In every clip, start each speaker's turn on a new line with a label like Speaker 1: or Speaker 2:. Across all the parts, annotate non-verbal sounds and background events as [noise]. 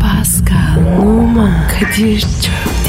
Speaker 1: Pascal, Oman, Kadir çok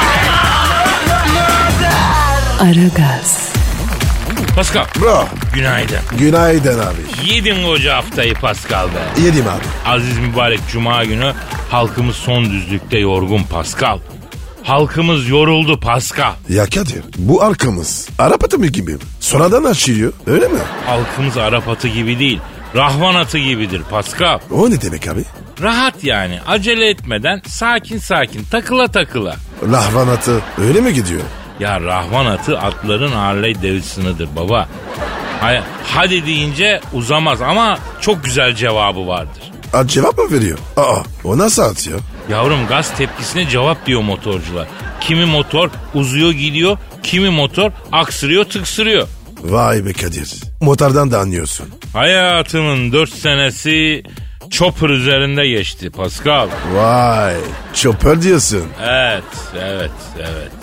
Speaker 1: Aragaz,
Speaker 2: Pascal.
Speaker 3: Bro.
Speaker 2: Günaydın.
Speaker 3: Günaydın abi.
Speaker 2: Yedin koca haftayı Pascal be.
Speaker 3: Yedim abi.
Speaker 2: Aziz mübarek cuma günü halkımız son düzlükte yorgun Pascal. Halkımız yoruldu Pascal.
Speaker 3: Ya Kadir bu arkamız Arap atı mı gibi? Sonradan açılıyor öyle mi?
Speaker 2: Halkımız Arap atı gibi değil. Rahvan atı gibidir Pascal.
Speaker 3: O ne demek abi?
Speaker 2: Rahat yani acele etmeden sakin sakin takıla takıla.
Speaker 3: Lahvan atı öyle mi gidiyor?
Speaker 2: Ya Rahvan atı atların Harley Davidson'ıdır baba. Hay- Hadi deyince uzamaz ama çok güzel cevabı vardır.
Speaker 3: At cevap mı veriyor? Aa o nasıl at ya?
Speaker 2: Yavrum gaz tepkisine cevap diyor motorcular. Kimi motor uzuyor gidiyor, kimi motor aksırıyor tıksırıyor.
Speaker 3: Vay be Kadir. Motordan da anlıyorsun.
Speaker 2: Hayatımın dört senesi chopper üzerinde geçti Pascal.
Speaker 3: Vay. Chopper diyorsun.
Speaker 2: Evet, evet, evet.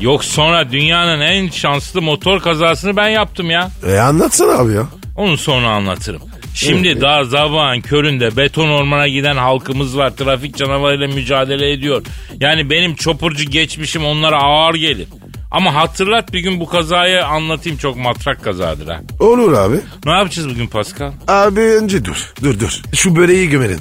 Speaker 2: Yok sonra dünyanın en şanslı motor kazasını ben yaptım ya.
Speaker 3: E anlatsana abi ya.
Speaker 2: Onu sonra anlatırım. Şimdi
Speaker 3: Evet.
Speaker 2: daha sabahın köründe beton ormana giden halkımız var. Trafik canavarıyla mücadele ediyor. Yani benim çopurcu geçmişim onlara ağır gelir. Ama hatırlat bir gün bu kazayı anlatayım çok matrak kazadır ha.
Speaker 3: Olur abi.
Speaker 2: Ne yapacağız bugün Pascal?
Speaker 3: Abi önce dur. Dur dur. Şu böreği gömerin.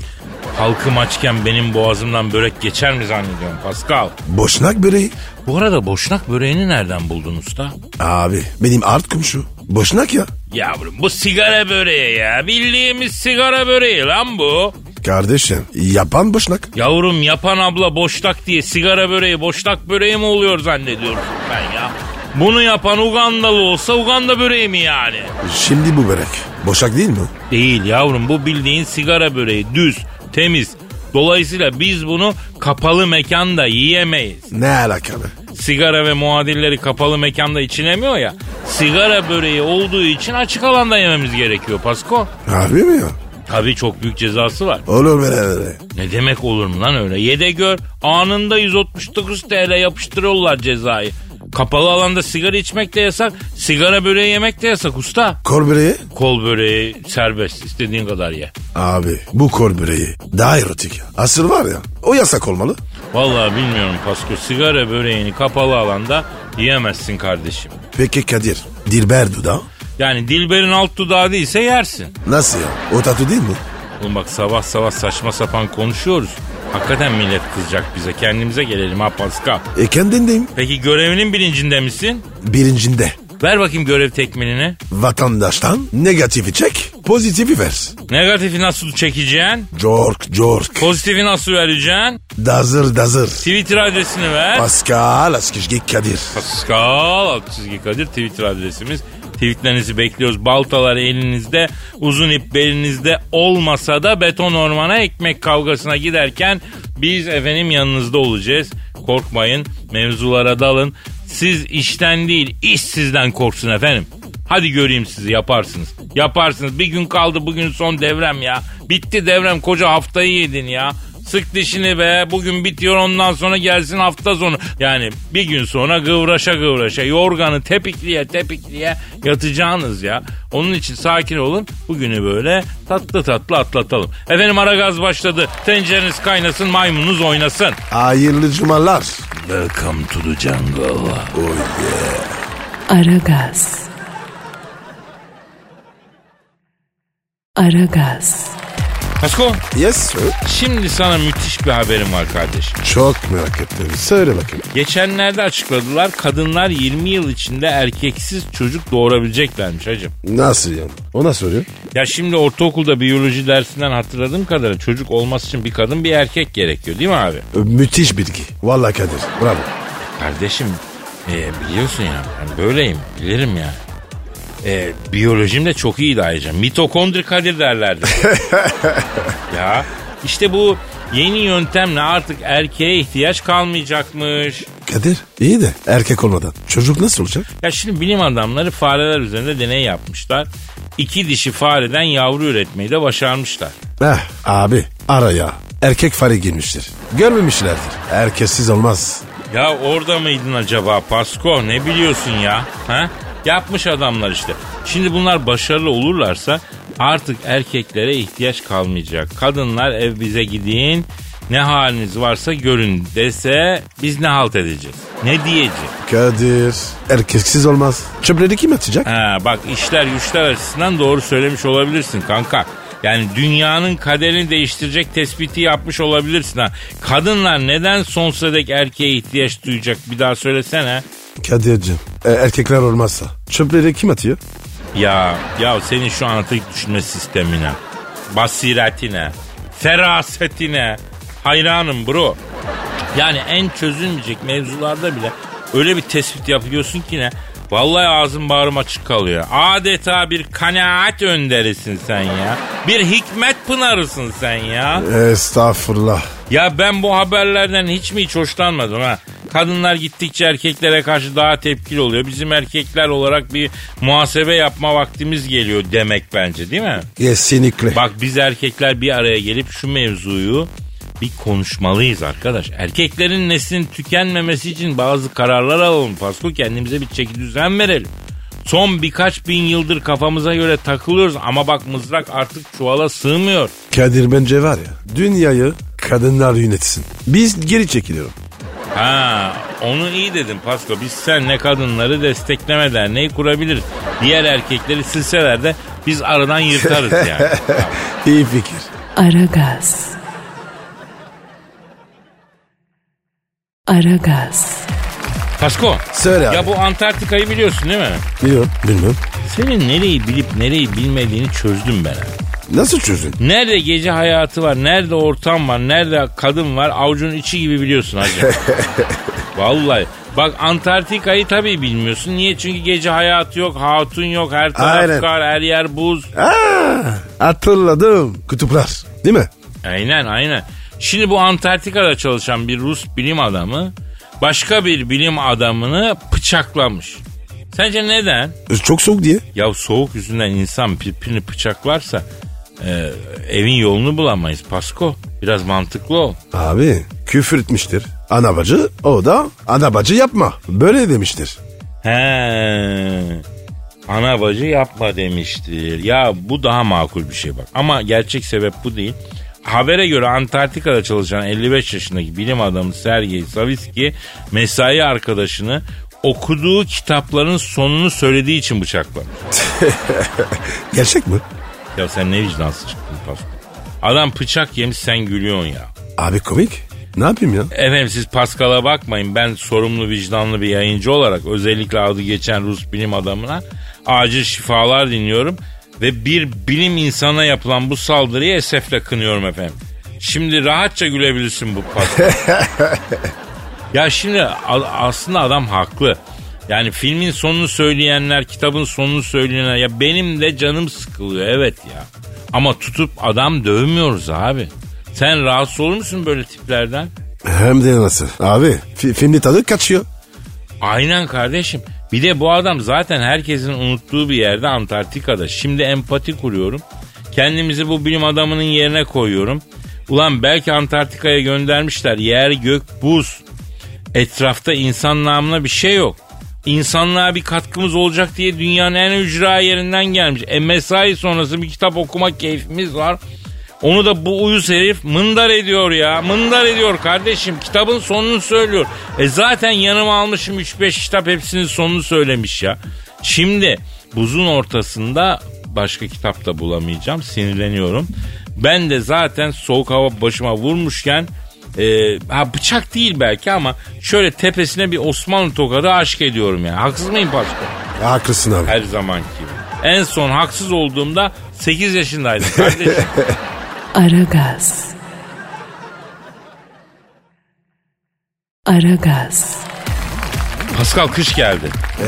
Speaker 2: Halkım açken benim boğazımdan börek geçer mi zannediyorum Pascal?
Speaker 3: Boşnak böreği.
Speaker 2: Bu arada boşnak böreğini nereden buldun usta?
Speaker 3: Abi benim art komşu. Boşnak ya.
Speaker 2: Yavrum bu sigara böreği ya. Bildiğimiz sigara böreği lan bu.
Speaker 3: Kardeşim yapan boşnak.
Speaker 2: Yavrum yapan abla boştak diye sigara böreği boştak böreği mi oluyor zannediyorum ben ya. Bunu yapan Ugandalı olsa Uganda böreği mi yani?
Speaker 3: Şimdi bu börek. Boşnak değil mi?
Speaker 2: Değil yavrum bu bildiğin sigara böreği düz, temiz. Dolayısıyla biz bunu kapalı mekanda yiyemeyiz.
Speaker 3: Ne alakalı?
Speaker 2: Sigara ve muadilleri kapalı mekanda içilemiyor ya. Sigara böreği olduğu için açık alanda yememiz gerekiyor Pasko.
Speaker 3: Abi mi ya?
Speaker 2: Tabii çok büyük cezası var.
Speaker 3: Olur böyle.
Speaker 2: Ne demek olur mu lan öyle? Yede gör. Anında 169 TL yapıştırıyorlar cezayı. Kapalı alanda sigara içmek de yasak, sigara böreği yemek de yasak usta.
Speaker 3: Kol böreği?
Speaker 2: Kol böreği serbest, istediğin kadar ye.
Speaker 3: Abi bu kol böreği daha erotik ya. Asıl var ya o yasak olmalı.
Speaker 2: Vallahi bilmiyorum Pasko, sigara böreğini kapalı alanda yiyemezsin kardeşim.
Speaker 3: Peki Kadir Dilber dudağı?
Speaker 2: Yani Dilber'in alt dudağı değilse yersin.
Speaker 3: Nasıl ya? O tatlı değil mi?
Speaker 2: Oğlum bak sabah sabah saçma sapan konuşuyoruz. Hakikaten millet kızacak bize. Kendimize gelelim ha Pascal.
Speaker 3: E kendindeyim.
Speaker 2: Peki görevinin bilincinde misin?
Speaker 3: Birincinde
Speaker 2: Ver bakayım görev tekmilini.
Speaker 3: vatandaştan negatifi çek pozitifi ver.
Speaker 2: Negatifi nasıl çekeceksin?
Speaker 3: Cork cork.
Speaker 2: Pozitifi nasıl vereceksin?
Speaker 3: Dazır dazır.
Speaker 2: Twitter adresini ver.
Speaker 3: Pascal Askışgi Kadir.
Speaker 2: Pascal alt çizgi Kadir Twitter adresimiz. Tweetlerinizi bekliyoruz. Baltalar elinizde, uzun ip belinizde olmasa da beton ormana ekmek kavgasına giderken biz efendim yanınızda olacağız. Korkmayın, mevzulara dalın. Siz işten değil, iş sizden korksun efendim. Hadi göreyim sizi yaparsınız. Yaparsınız. Bir gün kaldı bugün son devrem ya. Bitti devrem koca haftayı yedin ya. Sık dişini be bugün bitiyor ondan sonra gelsin hafta sonu. Yani bir gün sonra gıvraşa gıvraşa yorganı tepikliye tepikliye yatacağınız ya. Onun için sakin olun bugünü böyle tatlı tatlı atlatalım. Efendim ara gaz başladı tencereniz kaynasın maymununuz oynasın.
Speaker 3: Hayırlı cumalar.
Speaker 2: Welcome to the jungle.
Speaker 1: Aragaz. Aragaz,
Speaker 2: Pasko
Speaker 3: Yes sir.
Speaker 2: şimdi sana müthiş bir haberim var kardeşim.
Speaker 3: Çok merak ettim. Söyle bakayım.
Speaker 2: Geçenlerde açıkladılar kadınlar 20 yıl içinde erkeksiz çocuk doğurabileceklermiş hacım.
Speaker 3: Nasıl yani? Ona soruyor.
Speaker 2: Ya şimdi ortaokulda biyoloji dersinden hatırladığım kadarıyla çocuk olması için bir kadın bir erkek gerekiyor değil mi abi?
Speaker 3: E, Müthiş bilgi. Vallahi Kadir. Bravo.
Speaker 2: Kardeşim e, biliyorsun ya ben böyleyim bilirim ya. E, biyolojim de [laughs] çok iyiydi ayrıca. Mitokondri Kadir derlerdi. ya işte bu Yeni yöntemle artık erkeğe ihtiyaç kalmayacakmış.
Speaker 3: Kadir iyi de erkek olmadan çocuk nasıl olacak?
Speaker 2: Ya şimdi bilim adamları fareler üzerinde deney yapmışlar. İki dişi fareden yavru üretmeyi de başarmışlar.
Speaker 3: Heh Eh, abi araya erkek fare girmiştir. Görmemişlerdir. Erkeksiz olmaz.
Speaker 2: Ya orada mıydın acaba Pasko ne biliyorsun ya? Ha? Yapmış adamlar işte. Şimdi bunlar başarılı olurlarsa artık erkeklere ihtiyaç kalmayacak. Kadınlar ev bize gidin ne haliniz varsa görün dese biz ne halt edeceğiz? Ne diyeceğiz?
Speaker 3: Kadir erkeksiz olmaz. Çöpleri kim atacak?
Speaker 2: Ha, bak işler güçler açısından doğru söylemiş olabilirsin kanka. Yani dünyanın kaderini değiştirecek tespiti yapmış olabilirsin ha. Kadınlar neden sonsuza dek erkeğe ihtiyaç duyacak bir daha söylesene.
Speaker 3: Kadir'cim e, erkekler olmazsa çöpleri kim atıyor?
Speaker 2: Ya ya senin şu anlatık düşünme sistemine, basiretine, ferasetine hayranım bro. Yani en çözülmeyecek mevzularda bile öyle bir tespit yapıyorsun ki ne? Vallahi ağzım bağrım açık kalıyor. Adeta bir kanaat önderisin sen ya. Bir hikmet pınarısın sen ya.
Speaker 3: Estağfurullah.
Speaker 2: Ya ben bu haberlerden hiç mi hiç hoşlanmadım ha? Kadınlar gittikçe erkeklere karşı daha tepkili oluyor. Bizim erkekler olarak bir muhasebe yapma vaktimiz geliyor demek bence değil mi?
Speaker 3: Kesinlikle.
Speaker 2: Bak biz erkekler bir araya gelip şu mevzuyu bir konuşmalıyız arkadaş. Erkeklerin neslinin tükenmemesi için bazı kararlar alalım Pasko. Kendimize bir çeki düzen verelim. Son birkaç bin yıldır kafamıza göre takılıyoruz ama bak mızrak artık çuvala sığmıyor.
Speaker 3: Kadir bence var ya dünyayı kadınlar yönetsin. Biz geri çekiliyorum.
Speaker 2: Ha, onu iyi dedin Pasko. Biz senle kadınları destekleme derneği kurabiliriz. Diğer erkekleri silseler de biz
Speaker 3: [laughs]
Speaker 2: aradan yırtarız yani.
Speaker 3: İyi fikir.
Speaker 1: Aragaz. Aragaz.
Speaker 2: Pasko.
Speaker 3: Söyle abi.
Speaker 2: Ya bu Antarktika'yı biliyorsun değil mi?
Speaker 3: Biliyorum. Bilmiyorum.
Speaker 2: Senin nereyi bilip nereyi bilmediğini çözdüm ben.
Speaker 3: Nasıl çözün?
Speaker 2: Nerede gece hayatı var, nerede ortam var, nerede kadın var avucun içi gibi
Speaker 3: [laughs]
Speaker 2: biliyorsun hacı. Vallahi. Bak Antarktika'yı tabii bilmiyorsun. Niye? Çünkü gece hayatı yok, hatun yok, her taraf
Speaker 3: Aynen.
Speaker 2: kar, her yer buz.
Speaker 3: Aa, hatırladım. Kutuplar. Değil mi?
Speaker 2: Aynen aynen. Şimdi bu Antarktika'da çalışan bir Rus bilim adamı başka bir bilim adamını bıçaklamış. Sence neden?
Speaker 3: E, Çok soğuk diye.
Speaker 2: Ya soğuk yüzünden insan birbirini bıçaklarsa e, evin yolunu bulamayız Pasko. Biraz mantıklı ol.
Speaker 3: Abi küfür etmiştir. Ana bacı o da ana bacı yapma. Böyle demiştir.
Speaker 2: He. Ana bacı yapma demiştir. Ya bu daha makul bir şey bak. Ama gerçek sebep bu değil. Habere göre Antarktika'da çalışan 55 yaşındaki bilim adamı Sergey Savitski mesai arkadaşını okuduğu kitapların sonunu söylediği için bıçaklamış.
Speaker 3: Gerçek mi?
Speaker 2: Ya sen ne vicdansız çıktın Pasko. Adam bıçak yemiş sen gülüyorsun ya.
Speaker 3: Abi komik. Ne yapayım ya?
Speaker 2: Efendim siz Pascal'a bakmayın. Ben sorumlu vicdanlı bir yayıncı olarak özellikle adı geçen Rus bilim adamına acil şifalar dinliyorum. Ve bir bilim insana yapılan bu saldırıyı esefle kınıyorum efendim. Şimdi rahatça gülebilirsin bu Pascal. ya şimdi a- aslında adam haklı. Yani filmin sonunu söyleyenler, kitabın sonunu söyleyenler ya benim de canım sıkılıyor evet ya. Ama tutup adam dövmüyoruz abi. Sen rahatsız olur musun böyle tiplerden?
Speaker 3: Hem de nasıl? Abi fi- filmin tadı kaçıyor.
Speaker 2: Aynen kardeşim. Bir de bu adam zaten herkesin unuttuğu bir yerde Antarktika'da. Şimdi empati kuruyorum. Kendimizi bu bilim adamının yerine koyuyorum. Ulan belki Antarktika'ya göndermişler. Yer gök buz. Etrafta insan namına bir şey yok. İnsanlığa bir katkımız olacak diye dünyanın en ücra yerinden gelmiş. E mesai sonrası bir kitap okuma keyfimiz var. Onu da bu uyuz herif mındar ediyor ya. Mındar ediyor kardeşim. Kitabın sonunu söylüyor. E zaten yanıma almışım 3-5 kitap hepsinin sonunu söylemiş ya. Şimdi buzun ortasında başka kitap da bulamayacağım. Sinirleniyorum. Ben de zaten soğuk hava başıma vurmuşken e, ha bıçak değil belki ama şöyle tepesine bir Osmanlı tokadı aşk ediyorum yani. Haksız mıyım Pasko?
Speaker 3: Haklısın abi.
Speaker 2: Her zamanki gibi. En son haksız olduğumda 8 yaşındaydım kardeşim.
Speaker 1: Aragaz. Aragaz.
Speaker 2: Pascal kış geldi.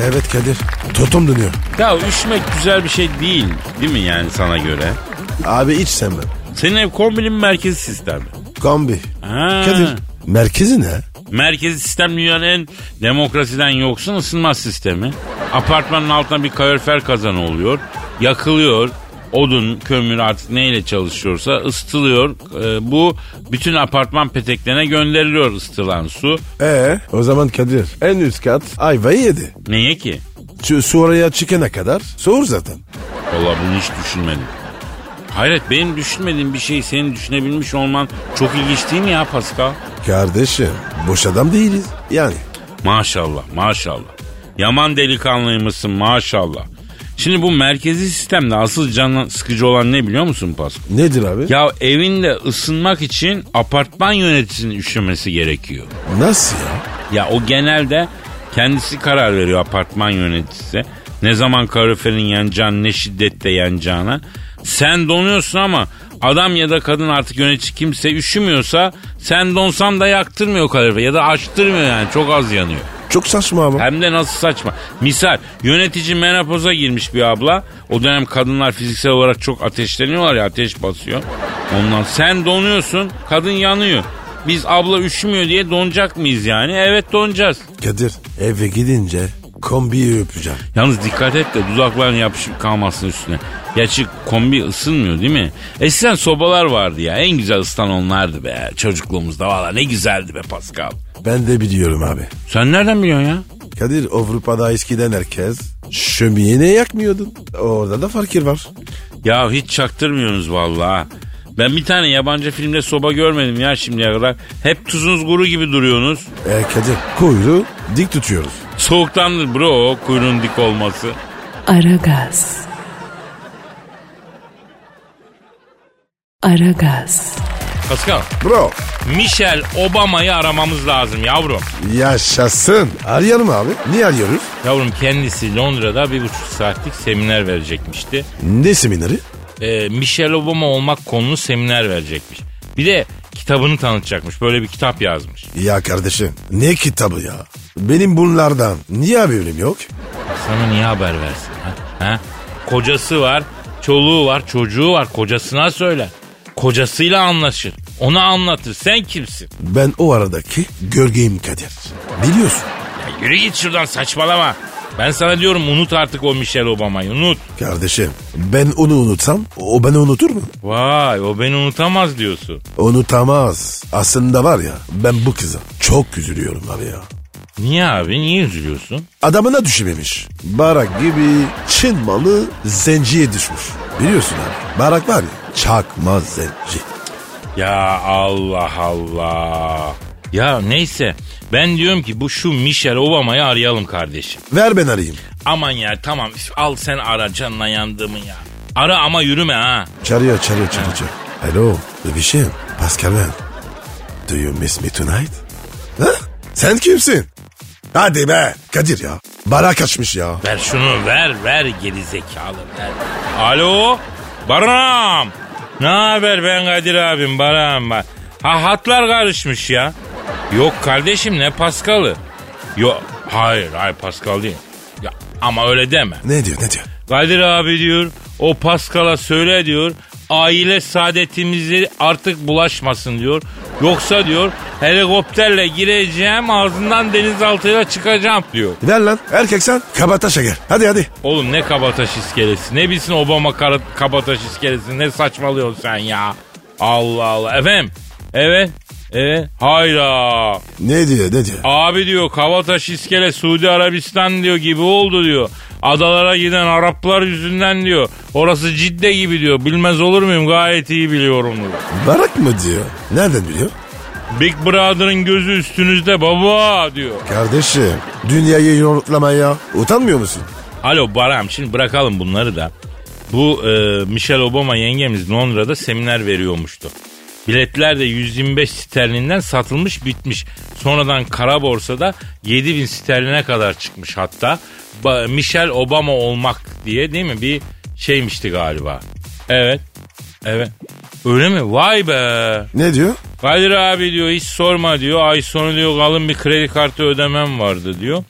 Speaker 3: Evet Kadir. Totum dönüyor.
Speaker 2: Ya üşümek güzel bir şey değil değil mi yani sana göre?
Speaker 3: Abi iç sen ben.
Speaker 2: Senin ev kombinin merkezi sistemi.
Speaker 3: Gambi.
Speaker 2: Ha.
Speaker 3: Kadir. Merkezi ne?
Speaker 2: Merkezi sistem dünyanın en demokrasiden yoksun ısınma sistemi. Apartmanın altına bir kalorifer kazanı oluyor. Yakılıyor. Odun, kömür artık neyle çalışıyorsa ısıtılıyor. Ee, bu bütün apartman peteklerine gönderiliyor ısıtılan su.
Speaker 3: Ee, o zaman Kadir en üst kat ayvayı yedi.
Speaker 2: Neye ki?
Speaker 3: Şu, su oraya çıkana kadar soğur zaten.
Speaker 2: Valla bunu hiç düşünmedim. Hayret benim düşünmediğim bir şeyi senin düşünebilmiş olman çok ilginç değil mi ya Pascal?
Speaker 3: Kardeşim boş adam değiliz. Yani
Speaker 2: Maşallah maşallah. Yaman delikanlıymışsın maşallah. Şimdi bu merkezi sistemde asıl can sıkıcı olan ne biliyor musun Pasko?
Speaker 3: nedir abi?
Speaker 2: Ya evinde ısınmak için apartman yöneticisinin üşümesi gerekiyor.
Speaker 3: Nasıl ya?
Speaker 2: Ya o genelde kendisi karar veriyor apartman yöneticisi. Ne zaman kaloriferin yanacağını ne şiddette yanacağına. Sen donuyorsun ama adam ya da kadın artık yönetici kimse üşümüyorsa sen donsan da yaktırmıyor kalorifer ya da açtırmıyor yani çok az yanıyor.
Speaker 3: Çok saçma ama.
Speaker 2: Hem de nasıl saçma. Misal yönetici menopoza girmiş bir abla. O dönem kadınlar fiziksel olarak çok ateşleniyorlar ya ateş basıyor. Ondan sen donuyorsun kadın yanıyor. Biz abla üşümüyor diye donacak mıyız yani? Evet donacağız.
Speaker 3: Kadir eve gidince kombiyi öpeceğim.
Speaker 2: Yalnız dikkat et de dudakların yapışıp kalmasın üstüne. Gerçi kombi ısınmıyor değil mi? Eskiden sobalar vardı ya. En güzel ısıtan onlardı be. Çocukluğumuzda valla ne güzeldi be Pascal.
Speaker 3: Ben de biliyorum abi.
Speaker 2: Sen nereden biliyorsun ya?
Speaker 3: Kadir Avrupa'da eskiden herkes şömiyene yakmıyordun. Orada da fakir var.
Speaker 2: Ya hiç çaktırmıyorsunuz vallahi. Ben bir tane yabancı filmde soba görmedim ya şimdiye kadar. Hep tuzunuz kuru gibi duruyorsunuz.
Speaker 3: E Kadir kuyruğu dik tutuyoruz.
Speaker 2: Soğuktandır bro o kuyruğun dik olması.
Speaker 1: Aragaz. Aragaz.
Speaker 2: Pascal,
Speaker 3: Bro
Speaker 2: Michelle Obama'yı aramamız lazım yavrum.
Speaker 3: yaşasın. Arayalım abi. Niye arıyoruz?
Speaker 2: Yavrum kendisi Londra'da bir buçuk saatlik seminer verecekmişti.
Speaker 3: Ne semineri?
Speaker 2: Ee, Michelle Obama olmak konulu seminer verecekmiş. Bir de kitabını tanıtacakmış. Böyle bir kitap yazmış.
Speaker 3: Ya kardeşim ne kitabı ya? Benim bunlardan niye haberim yok?
Speaker 2: Sana niye haber versin? Ha? ha? Kocası var, çoluğu var, çocuğu var. Kocasına söyler. Kocasıyla anlaşır. Ona anlatır. Sen kimsin?
Speaker 3: Ben o aradaki gölgeyim Kadir. Biliyorsun
Speaker 2: Ya yürü git şuradan saçmalama. Ben sana diyorum unut artık o Michelle Obama'yı unut.
Speaker 3: kardeşim ben onu unutsam o beni unutur mu?
Speaker 2: Vay o beni unutamaz diyorsun.
Speaker 3: Unutamaz. Aslında var ya ben bu kıza çok üzülüyorum abi ya.
Speaker 2: Niye abi niye üzülüyorsun?
Speaker 3: Adamına düşmemiş. Barak gibi Çin malı zenciye düşmüş. Biliyorsun abi. Barak var ya çakma zenci.
Speaker 2: Ya Allah Allah. Ya neyse ben diyorum ki bu şu Michelle Obama'yı arayalım kardeşim.
Speaker 3: Ver ben arayayım.
Speaker 2: Aman ya tamam al sen ara canına yandığımı ya. Ara ama yürüme ha.
Speaker 3: Çağırıyor çağırıyor çağırıyor. Alo bebişim Pascal ben. Do you miss me tonight? Ha? Sen kimsin? Hadi be Kadir ya. Barak kaçmış ya.
Speaker 2: Ver şunu ver ver geri zekalı ver. Alo Baram. Ne haber ben Kadir abim Baram ben. Ha hatlar karışmış ya. Yok kardeşim ne Paskal'ı. Yok hayır hayır Paskal değil. Ya, ama öyle deme.
Speaker 3: Ne diyor ne diyor?
Speaker 2: Kadir abi diyor o Paskal'a söyle diyor aile saadetimizi artık bulaşmasın diyor. Yoksa diyor helikopterle gireceğim ağzından denizaltıyla çıkacağım diyor.
Speaker 3: Ver lan erkek sen kabataşa gel. Hadi hadi.
Speaker 2: Oğlum ne kabataş iskelesi ne bilsin Obama kara- kabataş iskelesi ne saçmalıyorsun sen ya. Allah Allah efendim evet evet hayra.
Speaker 3: Ne diyor ne diyor?
Speaker 2: Abi diyor Kavataş İskele Suudi Arabistan diyor gibi oldu diyor. Adalara giden Araplar yüzünden diyor. Orası Cidde gibi diyor. Bilmez olur muyum gayet iyi biliyorum diyor.
Speaker 3: Barak mı diyor? Nereden biliyor?
Speaker 2: Big Brother'ın gözü üstünüzde baba diyor.
Speaker 3: Kardeşim dünyayı yoğurtlamaya utanmıyor musun?
Speaker 2: Alo Baram şimdi bırakalım bunları da. Bu e, Michelle Obama yengemiz Londra'da seminer veriyormuştu. Biletler de 125 sterlinden satılmış bitmiş. Sonradan kara borsada 7000 sterline kadar çıkmış hatta. Ba- Michelle Obama olmak diye değil mi bir şeymişti galiba. Evet. Evet. Öyle mi? Vay be.
Speaker 3: Ne diyor?
Speaker 2: Kadir abi diyor hiç sorma diyor. Ay sonu diyor kalın bir kredi kartı ödemem vardı diyor.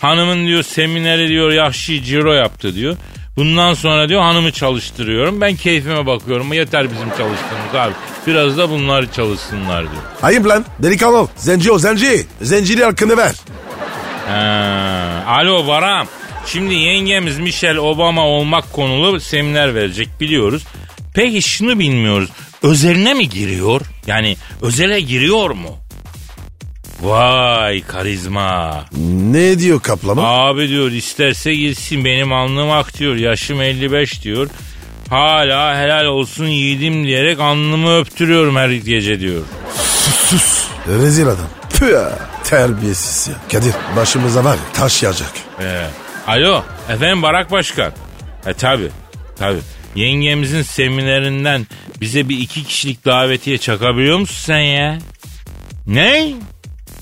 Speaker 2: Hanımın diyor semineri diyor yahşi ciro yaptı diyor. Bundan sonra diyor hanımı çalıştırıyorum. Ben keyfime bakıyorum. Yeter bizim çalıştığımız abi. Biraz da bunları çalışsınlar diyor.
Speaker 3: Ayıp lan. Delikanlı ol. Zenci o zenci. Zencili hakkını ver.
Speaker 2: Ha, Alo Baram. Şimdi yengemiz Michelle Obama olmak konulu seminer verecek biliyoruz. Peki şunu bilmiyoruz. Özeline mi giriyor? Yani özele giriyor mu? Vay karizma.
Speaker 3: Ne diyor kaplama?
Speaker 2: Abi diyor isterse gitsin benim alnım ak diyor. Yaşım 55 diyor. Hala helal olsun yiğidim diyerek alnımı öptürüyorum her gece diyor.
Speaker 3: Sus. Rezil adam. Püh. Terbiyesiz ya. Kadir başımıza var ya, taş yağacak.
Speaker 2: Ee, alo efendim Barak Başkan. E tabi tabi. Yengemizin seminerinden bize bir iki kişilik davetiye çakabiliyor musun sen ya? Ne?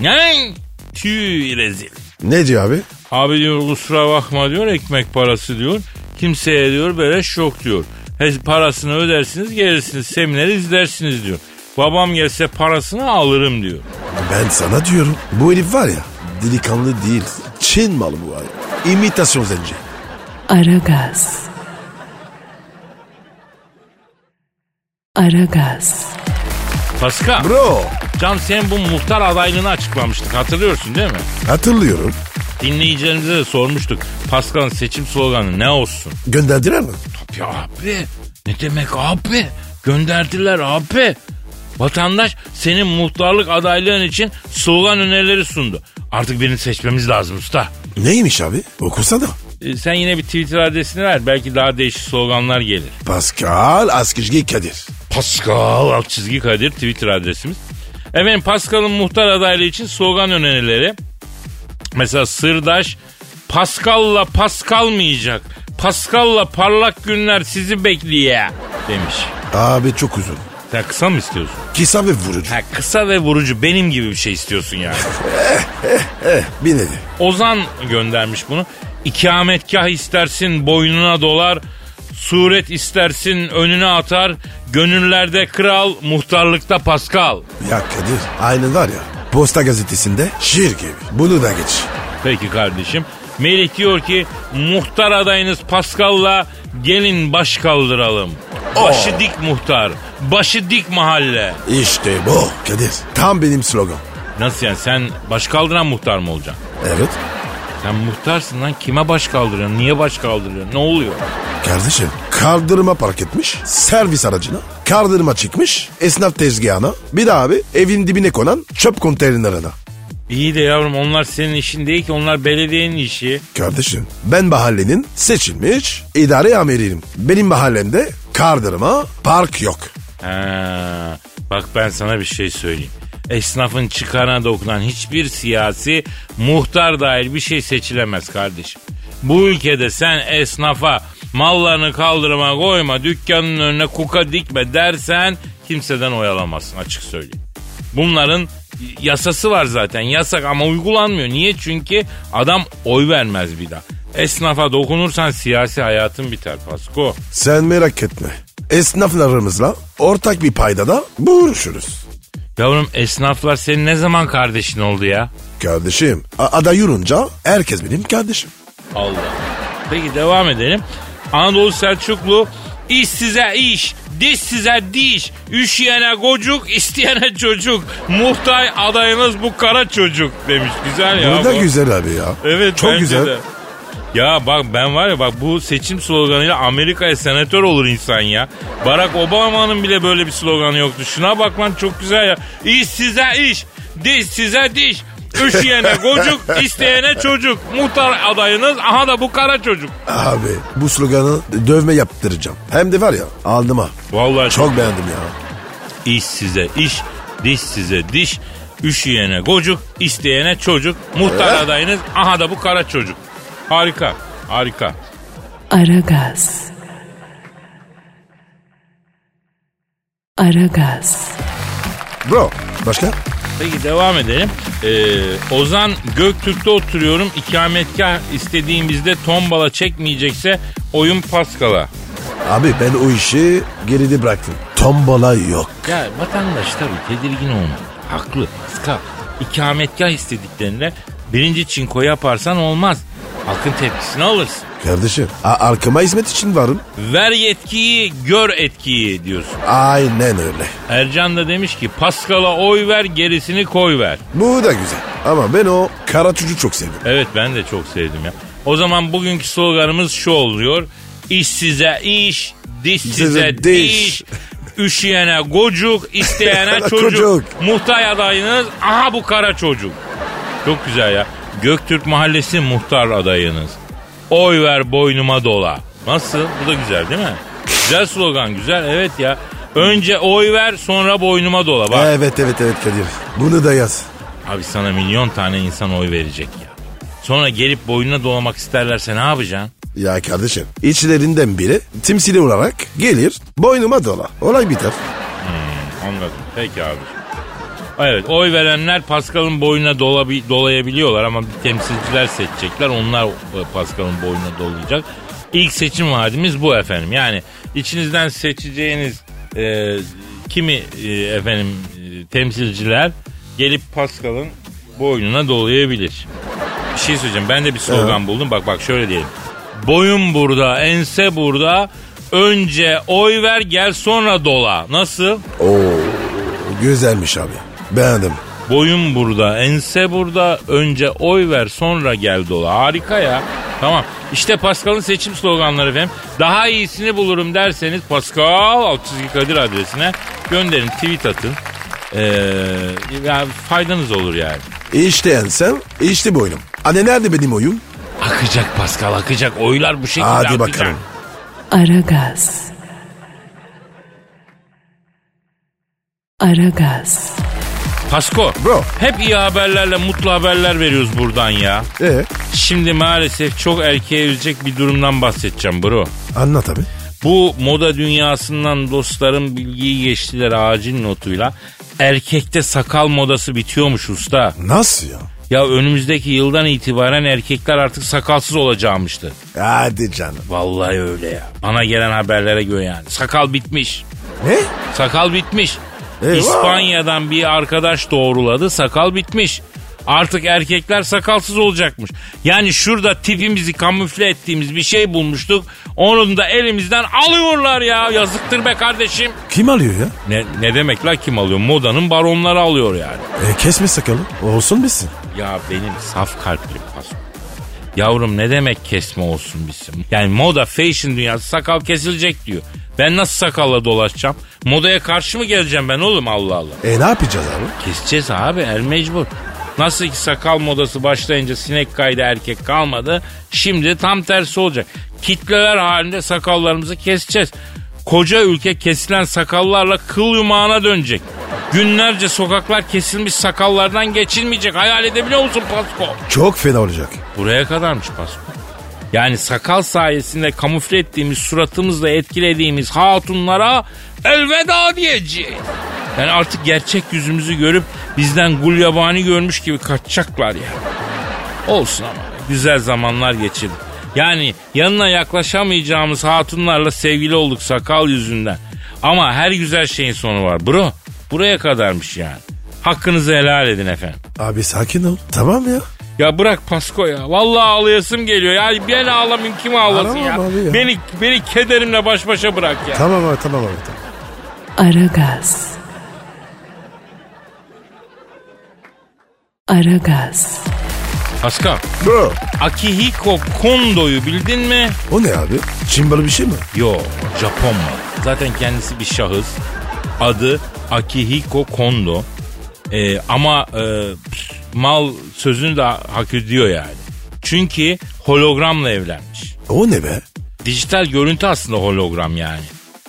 Speaker 2: Ne? Tüy rezil.
Speaker 3: Ne diyor abi?
Speaker 2: Abi diyor kusura bakma diyor ekmek parası diyor. Kimseye diyor böyle şok diyor. He, parasını ödersiniz gelirsiniz semineri izlersiniz diyor. Babam gelse parasını alırım diyor.
Speaker 3: Ben sana diyorum. Bu herif var ya delikanlı değil. Çin malı bu var ya. İmitasyon zenci.
Speaker 1: Aragaz. Aragaz.
Speaker 2: Paska,
Speaker 3: Bro
Speaker 2: Can sen bu muhtar adaylığını açıklamıştık hatırlıyorsun değil mi?
Speaker 3: hatırlıyorum.
Speaker 2: Dinleyicilerimize de sormuştuk. Pascal'ın seçim sloganı ne olsun?
Speaker 3: Gönderdiler mi?
Speaker 2: Ya abi ne demek abi? Gönderdiler abi. Vatandaş senin muhtarlık adaylığın için slogan önerileri sundu. Artık birini seçmemiz lazım usta.
Speaker 3: Neymiş abi? Okusana.
Speaker 2: E, sen yine bir Twitter adresini ver. Belki daha değişik sloganlar gelir.
Speaker 3: Pascal Askizgi Kadir.
Speaker 2: Pascal alt çizgi Kadir Twitter adresimiz. Efendim Pascal'ın muhtar adaylığı için slogan önerileri. Mesela Sırdaş Pascal'la pas kalmayacak. Pascal'la parlak günler sizi bekliyor demiş.
Speaker 3: Abi çok uzun.
Speaker 2: Sen kısa mı istiyorsun?
Speaker 3: Kısa ve vurucu.
Speaker 2: Ha, kısa ve vurucu benim gibi bir şey istiyorsun yani.
Speaker 3: Eh bir nevi.
Speaker 2: Ozan göndermiş bunu. İkametgah istersin boynuna dolar, suret istersin önüne atar, gönüllerde kral, muhtarlıkta Pascal.
Speaker 3: Ya Kadir aynı var ya. Posta gazetesinde şiir gibi. Bunu da geç.
Speaker 2: Peki kardeşim. Melih diyor ki muhtar adayınız Pascal'la gelin baş kaldıralım. Başı dik muhtar, başı dik mahalle.
Speaker 3: İşte bu Kadir. Tam benim slogan.
Speaker 2: Nasıl yani sen baş kaldıran muhtar mı olacaksın?
Speaker 3: Evet.
Speaker 2: Sen muhtarsın lan kime baş kaldırıyorsun, niye baş kaldırıyorsun, ne oluyor?
Speaker 3: Kardeşim kaldırıma park etmiş. Servis aracına. Kaldırıma çıkmış. Esnaf tezgahına. Bir de abi evin dibine konan çöp konteynerına.
Speaker 2: İyi de yavrum onlar senin işin değil ki onlar belediyenin işi.
Speaker 3: Kardeşim ben mahallenin seçilmiş idare amiriyim. Benim mahallemde kaldırıma park yok.
Speaker 2: Ha, bak ben sana bir şey söyleyeyim. Esnafın çıkarına dokunan hiçbir siyasi muhtar dahil bir şey seçilemez kardeşim. Bu ülkede sen esnafa mallarını kaldırıma koyma dükkanın önüne kuka dikme dersen kimseden oyalamazsın açık söyleyeyim. Bunların yasası var zaten yasak ama uygulanmıyor. Niye? Çünkü adam oy vermez bir daha. Esnafa dokunursan siyasi hayatın biter Pasko.
Speaker 3: Sen merak etme. Esnaflarımızla ortak bir paydada buluşuruz.
Speaker 2: Yavrum esnaflar senin ne zaman kardeşin oldu ya?
Speaker 3: Kardeşim a- ada yurunca herkes benim kardeşim.
Speaker 2: Allah. Peki devam edelim. Anadolu Selçuklu iş size iş, diş size diş, üşüyene gocuk, isteyene çocuk. Muhtay adayınız bu kara çocuk demiş. Güzel ya.
Speaker 3: Bu da
Speaker 2: bu.
Speaker 3: güzel abi ya.
Speaker 2: Evet
Speaker 3: Çok
Speaker 2: bence
Speaker 3: güzel.
Speaker 2: de. Ya bak ben var ya bak bu seçim sloganıyla Amerika'ya senatör olur insan ya. Barack Obama'nın bile böyle bir sloganı yoktu. Şuna bak lan çok güzel ya. İş size iş, diş size diş. Üşüyene gocuk, [laughs] isteyene çocuk. Muhtar adayınız aha da bu kara çocuk.
Speaker 3: Abi bu sloganı dövme yaptıracağım. Hem de var ya aldım ha.
Speaker 2: Vallahi çok
Speaker 3: Çok beğendim ya.
Speaker 2: iş size iş, diş size diş. Üşüyene gocuk, isteyene çocuk. Muhtar adayınız aha da bu kara çocuk. Harika, harika.
Speaker 1: Aragaz. Aragaz.
Speaker 3: Bro başka?
Speaker 2: Peki devam edelim. Ee, Ozan Göktürk'te oturuyorum. İkametgah istediğimizde tombala çekmeyecekse oyun Paskal'a.
Speaker 3: Abi ben o işi geride bıraktım. Tombala yok.
Speaker 2: Ya vatandaş tabii tedirgin olmalı. Haklı Paskal. İkametgah istediklerinde birinci çinko yaparsan olmaz. Halkın tepkisini alırsın.
Speaker 3: Kardeşim a- arkama hizmet için varım.
Speaker 2: Ver yetkiyi, gör etkiyi diyorsun.
Speaker 3: Aynen öyle.
Speaker 2: Ercan da demiş ki Pascal'a oy ver, gerisini koy ver.
Speaker 3: Bu da güzel. Ama ben o kara çocuğu çok sevdim.
Speaker 2: Evet ben de çok sevdim ya. O zaman bugünkü sloganımız şu oluyor. İş size iş, diş size
Speaker 3: Size
Speaker 2: diş.
Speaker 3: diş.
Speaker 2: Üşüyene gocuk, [laughs] isteyene çocuk.
Speaker 3: Çocuk.
Speaker 2: Muhtay adayınız, aha bu kara çocuk. Çok güzel ya. Göktürk Mahallesi muhtar adayınız. Oy ver boynuma dola. Nasıl? Bu da güzel değil mi? Güzel slogan, güzel. Evet ya. Önce oy ver, sonra boynuma dola. Bak.
Speaker 3: Evet evet evet Kadir. Bunu da yaz.
Speaker 2: Abi sana milyon tane insan oy verecek ya. Sonra gelip boynuna dolamak isterlerse ne yapacaksın?
Speaker 3: Ya kardeşim içlerinden biri timsili olarak gelir boynuma dola. Olay biter.
Speaker 2: Anladım. Peki abi. Evet oy verenler Pascal'ın boynuna dolabi- dolayabiliyorlar ama bir temsilciler seçecekler. Onlar e, Pascal'ın boynuna dolayacak. İlk seçim vaadimiz bu efendim. Yani içinizden seçeceğiniz e, kimi e, efendim e, temsilciler gelip Pascal'ın boynuna dolayabilir. Bir şey söyleyeceğim. Ben de bir slogan buldum. Bak bak şöyle diyelim. Boyun burada, ense burada. Önce oy ver gel sonra dola. Nasıl?
Speaker 3: Oo güzelmiş abi. Beğendim.
Speaker 2: Boyun burada, ense burada. Önce oy ver sonra gel dola. Harika ya. Tamam. İşte Pascal'ın seçim sloganları efendim. Daha iyisini bulurum derseniz Pascal alt çizgi Kadir adresine gönderin, tweet atın. Ee, ya faydanız olur yani.
Speaker 3: İşte ensem işte boynum. Anne nerede benim oyum?
Speaker 2: Akacak Pascal akacak. Oylar bu şekilde
Speaker 3: Hadi
Speaker 2: akacak.
Speaker 3: bakalım.
Speaker 1: Aragaz. Aragaz.
Speaker 2: Pasko.
Speaker 3: Bro.
Speaker 2: Hep iyi haberlerle mutlu haberler veriyoruz buradan ya.
Speaker 3: Ee
Speaker 2: Şimdi maalesef çok erkeğe üzecek bir durumdan bahsedeceğim bro.
Speaker 3: anlat abi.
Speaker 2: Bu moda dünyasından dostlarım bilgiyi geçtiler acil notuyla. Erkekte sakal modası bitiyormuş usta.
Speaker 3: Nasıl ya?
Speaker 2: Ya önümüzdeki yıldan itibaren erkekler artık sakalsız olacağımıştı.
Speaker 3: Hadi canım.
Speaker 2: Vallahi öyle ya. Bana gelen haberlere göre yani. Sakal bitmiş.
Speaker 3: Ne?
Speaker 2: Sakal bitmiş.
Speaker 3: Eyvah.
Speaker 2: İspanya'dan bir arkadaş doğruladı. Sakal bitmiş. Artık erkekler sakalsız olacakmış. Yani şurada tipimizi kamufle ettiğimiz bir şey bulmuştuk. Onun da elimizden alıyorlar ya. Yazıktır be kardeşim.
Speaker 3: Kim alıyor ya?
Speaker 2: Ne, ne demek la kim alıyor? Modanın baronları alıyor yani.
Speaker 3: E, kesme sakalı. Olsun bitsin.
Speaker 2: Ya benim saf kalplim Pasko. Yavrum ne demek kesme olsun bizim? Yani moda fashion dünyası sakal kesilecek diyor. Ben nasıl sakalla dolaşacağım? Modaya karşı mı geleceğim ben oğlum Allah Allah.
Speaker 3: E ne yapacağız abi?
Speaker 2: Keseceğiz abi el mecbur. Nasıl ki sakal modası başlayınca sinek kaydı erkek kalmadı. Şimdi tam tersi olacak. Kitleler halinde sakallarımızı keseceğiz. Koca ülke kesilen sakallarla kıl yumağına dönecek. Günlerce sokaklar kesilmiş sakallardan geçilmeyecek. Hayal edebiliyor musun Pasko?
Speaker 3: Çok fena olacak.
Speaker 2: Buraya kadarmış Pasko. Yani sakal sayesinde kamufle ettiğimiz suratımızla etkilediğimiz hatunlara elveda diyeceğiz. Yani artık gerçek yüzümüzü görüp bizden gulyabani görmüş gibi kaçacaklar ya. Olsun ama güzel zamanlar geçirdik. Yani yanına yaklaşamayacağımız hatunlarla sevgili olduk sakal yüzünden. Ama her güzel şeyin sonu var bro. Buraya kadarmış yani. Hakkınızı helal edin efendim.
Speaker 3: Abi sakin ol. Tamam ya.
Speaker 2: Ya bırak Pasko ya. Vallahi ağlayasım geliyor. Ya ben ağlamayayım kim ağlasın
Speaker 3: Ağlama
Speaker 2: ya?
Speaker 3: abi ya.
Speaker 2: Beni beni kederimle baş başa bırak ya.
Speaker 3: Tamam abi tamam abi. Tamam.
Speaker 1: Aragaz. Aragaz.
Speaker 2: Pasko,
Speaker 3: Bro.
Speaker 2: Akihiko Kondo'yu bildin mi?
Speaker 3: O ne abi? Çimbalı bir şey mi?
Speaker 2: Yo, Japon malı. Zaten kendisi bir şahıs. Adı Akihiko Kondo. Ee, ama e, pf, mal sözünü de hak ediyor yani. Çünkü hologramla evlenmiş.
Speaker 3: O ne be?
Speaker 2: Dijital görüntü aslında hologram yani.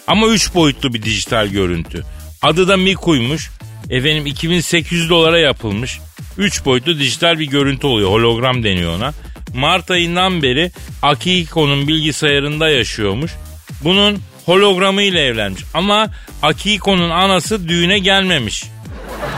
Speaker 2: Ama 3 boyutlu bir dijital görüntü. Adı da Miku'ymuş. Efendim 2800 dolara yapılmış. 3 boyutlu dijital bir görüntü oluyor. Hologram deniyor ona. Mart ayından beri Akihiko'nun bilgisayarında yaşıyormuş. Bunun hologramıyla evlenmiş. Ama Akihiko'nun anası düğüne gelmemiş.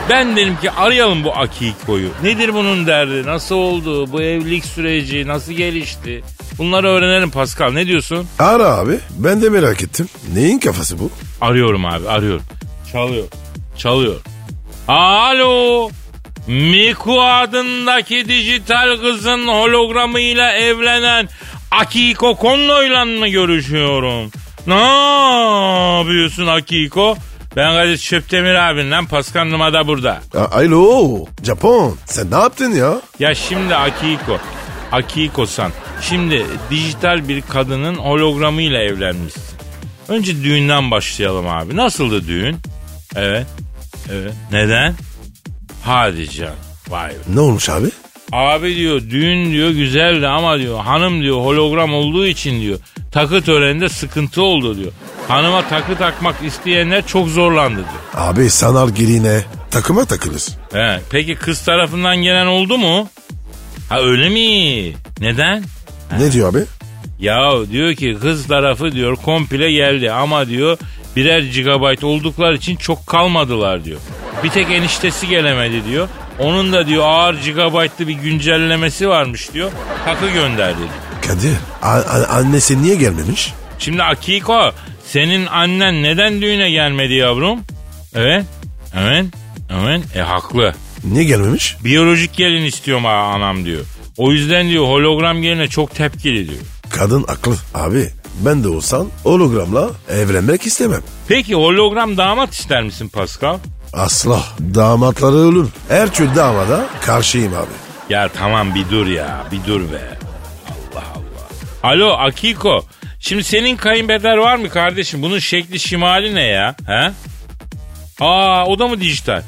Speaker 2: Ben dedim ki arayalım bu Akiko'yu. Nedir bunun derdi? Nasıl oldu? Bu evlilik süreci nasıl gelişti? Bunları öğrenelim Pascal. Ne diyorsun?
Speaker 3: Ara abi. Ben de merak ettim. Neyin kafası bu?
Speaker 2: Arıyorum abi arıyorum. Çalıyor. Çalıyor. Alo. Miku adındaki dijital kızın hologramıyla evlenen Akiko Konno'yla mı görüşüyorum? Ne yapıyorsun Akiko? Ben Kadir Çöptemir abinle Pascal Numa da burada.
Speaker 3: A- Alo Japon sen ne yaptın ya?
Speaker 2: Ya şimdi Akiko. Akiko-san. Şimdi dijital bir kadının hologramıyla evlenmişsin. Önce düğünden başlayalım abi. Nasıldı düğün? Evet. Evet. Neden? Hadi canım. Vay be.
Speaker 3: Ne olmuş abi?
Speaker 2: Abi diyor düğün diyor güzeldi ama diyor hanım diyor hologram olduğu için diyor takı töreninde sıkıntı oldu diyor. Hanıma takı takmak isteyenler çok zorlandı diyor.
Speaker 3: Abi sanal girine takıma takılır.
Speaker 2: He, peki kız tarafından gelen oldu mu? Ha öyle mi? Neden?
Speaker 3: Ne diyor abi?
Speaker 2: Ya diyor ki kız tarafı diyor komple geldi ama diyor birer gigabayt oldukları için çok kalmadılar diyor. Bir tek eniştesi gelemedi diyor. Onun da diyor ağır gigabaytlı bir güncellemesi varmış diyor. Takı gönderdi diyor.
Speaker 3: Kadir a- a- annesi niye gelmemiş?
Speaker 2: Şimdi Akiko senin annen neden düğüne gelmedi yavrum? Evet. Evet. Evet. E haklı.
Speaker 3: Niye gelmemiş?
Speaker 2: Biyolojik gelin istiyorum ha anam diyor. O yüzden diyor hologram geline çok tepkili diyor.
Speaker 3: Kadın aklı. Abi ben de olsam hologramla evlenmek istemem.
Speaker 2: Peki hologram damat ister misin Pascal?
Speaker 3: Asla. Damatları ölür. Her türlü damada karşıyım abi.
Speaker 2: Ya tamam bir dur ya bir dur be. Allah Allah. Alo Akiko. Şimdi senin kayınbeder var mı kardeşim? Bunun şekli şimali ne ya? He? Aa o da mı dijital?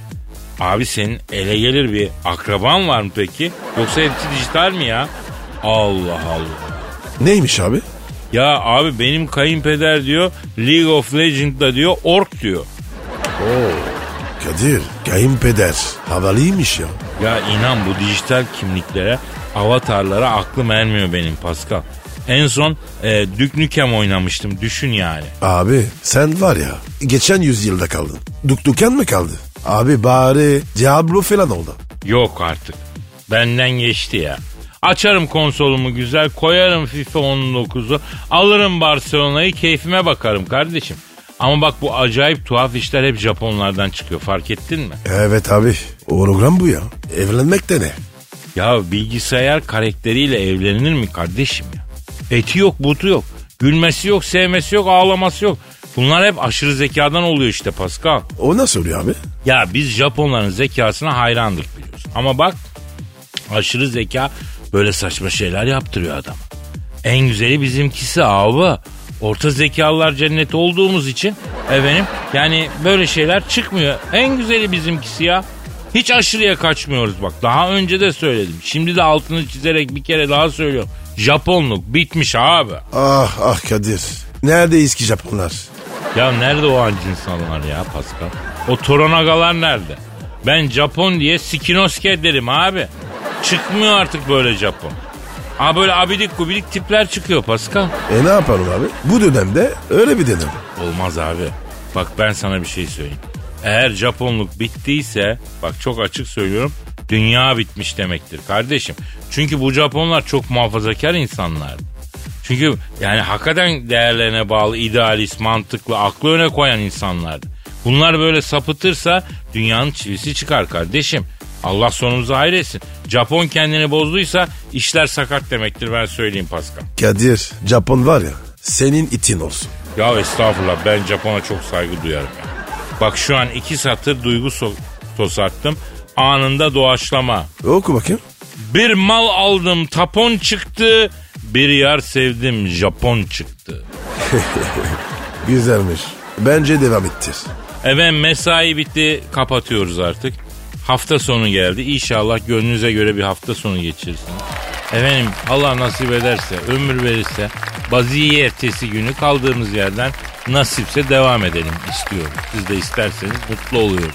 Speaker 2: Abi senin ele gelir bir akraban var mı peki? Yoksa hepsi dijital mi ya? Allah Allah.
Speaker 3: Neymiş abi?
Speaker 2: Ya abi benim kayınpeder diyor League of Legends'da diyor ork diyor.
Speaker 3: Kadir kayınpeder. Havalıymış ya.
Speaker 2: Ya inan bu dijital kimliklere, avatarlara aklım ermiyor benim Pascal. En son e, Duke Nukem oynamıştım düşün yani.
Speaker 3: Abi sen var ya geçen yüzyılda kaldın. Dukduken mi kaldı? Abi bari Diablo falan oldu.
Speaker 2: Yok artık. Benden geçti ya. Açarım konsolumu güzel, koyarım FIFA 19'u, alırım Barcelona'yı, keyfime bakarım kardeşim. Ama bak bu acayip tuhaf işler hep Japonlardan çıkıyor fark ettin mi?
Speaker 3: Evet abi hologram bu ya. Evlenmek de ne?
Speaker 2: Ya bilgisayar karakteriyle evlenilir mi kardeşim ya? Eti yok, butu yok. Gülmesi yok, sevmesi yok, ağlaması yok. Bunlar hep aşırı zekadan oluyor işte Pascal.
Speaker 3: O nasıl oluyor abi?
Speaker 2: Ya biz Japonların zekasına hayrandık biliyorsun. Ama bak aşırı zeka böyle saçma şeyler yaptırıyor adama. En güzeli bizimkisi abi. Orta zekalılar cenneti olduğumuz için efendim yani böyle şeyler çıkmıyor. En güzeli bizimkisi ya. Hiç aşırıya kaçmıyoruz bak. Daha önce de söyledim. Şimdi de altını çizerek bir kere daha söylüyorum. Japonluk bitmiş abi.
Speaker 3: Ah ah Kadir. Neredeyiz ki Japonlar?
Speaker 2: Ya nerede o ancı insanlar ya Pascal? O toronagalar nerede? Ben Japon diye sikinoske derim abi. Çıkmıyor artık böyle Japon. Aa böyle abidik gubidik tipler çıkıyor Pascal.
Speaker 3: E ne yapalım abi? Bu dönemde öyle bir dönem.
Speaker 2: Olmaz abi. Bak ben sana bir şey söyleyeyim. Eğer Japonluk bittiyse bak çok açık söylüyorum dünya bitmiş demektir kardeşim. Çünkü bu Japonlar çok muhafazakar insanlar. Çünkü yani hakikaten değerlerine bağlı idealist, mantıklı, aklı öne koyan insanlardı. Bunlar böyle sapıtırsa dünyanın çivisi çıkar kardeşim. Allah sonumuzu hayretsin. Japon kendini bozduysa işler sakat demektir ben söyleyeyim Pascal.
Speaker 3: Kadir Japon var ya senin itin olsun.
Speaker 2: Ya estağfurullah ben Japon'a çok saygı duyarım. ya. Bak şu an iki satır duygu so- tosarttım. Anında doğaçlama.
Speaker 3: E, Oku bakayım.
Speaker 2: Bir mal aldım tapon çıktı. Bir yar sevdim Japon çıktı.
Speaker 3: Güzelmiş. Bence devam ettir.
Speaker 2: Efendim mesai bitti kapatıyoruz artık. Hafta sonu geldi. İnşallah gönlünüze göre bir hafta sonu geçirirsiniz. Efendim Allah nasip ederse, ömür verirse baziye ertesi günü kaldığımız yerden nasipse devam edelim istiyorum. Siz de isterseniz mutlu oluyorum.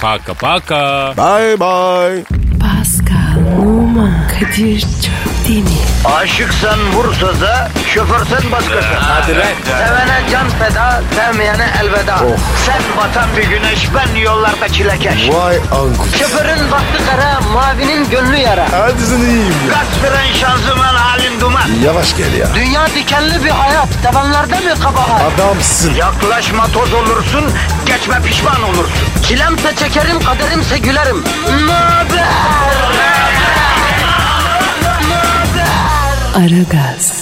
Speaker 2: Paka paka.
Speaker 3: Bye bye.
Speaker 1: Pascal, Oman, Kadir çok değil mi?
Speaker 4: Aşıksan vursa da, şoförsen başkasın. Hadi Sevene can feda, sevmeyene elveda. Sen batan bir güneş, ben yollarda çilekeş.
Speaker 3: Vay anku.
Speaker 4: Şoförün baktı kara, mavinin gönlü yara.
Speaker 3: Hadi sen iyiyim ya.
Speaker 4: Kasperen şanzıman halin duman.
Speaker 3: Yavaş gel ya.
Speaker 4: Dünya dikenli bir hayat, sevenlerde mi kabahar?
Speaker 3: Adamsın.
Speaker 4: Yaklaşma toz olursun, geçme pişman olursun. Çilemse çekerim, kaderimse gülerim. Möber!
Speaker 1: Aragaz.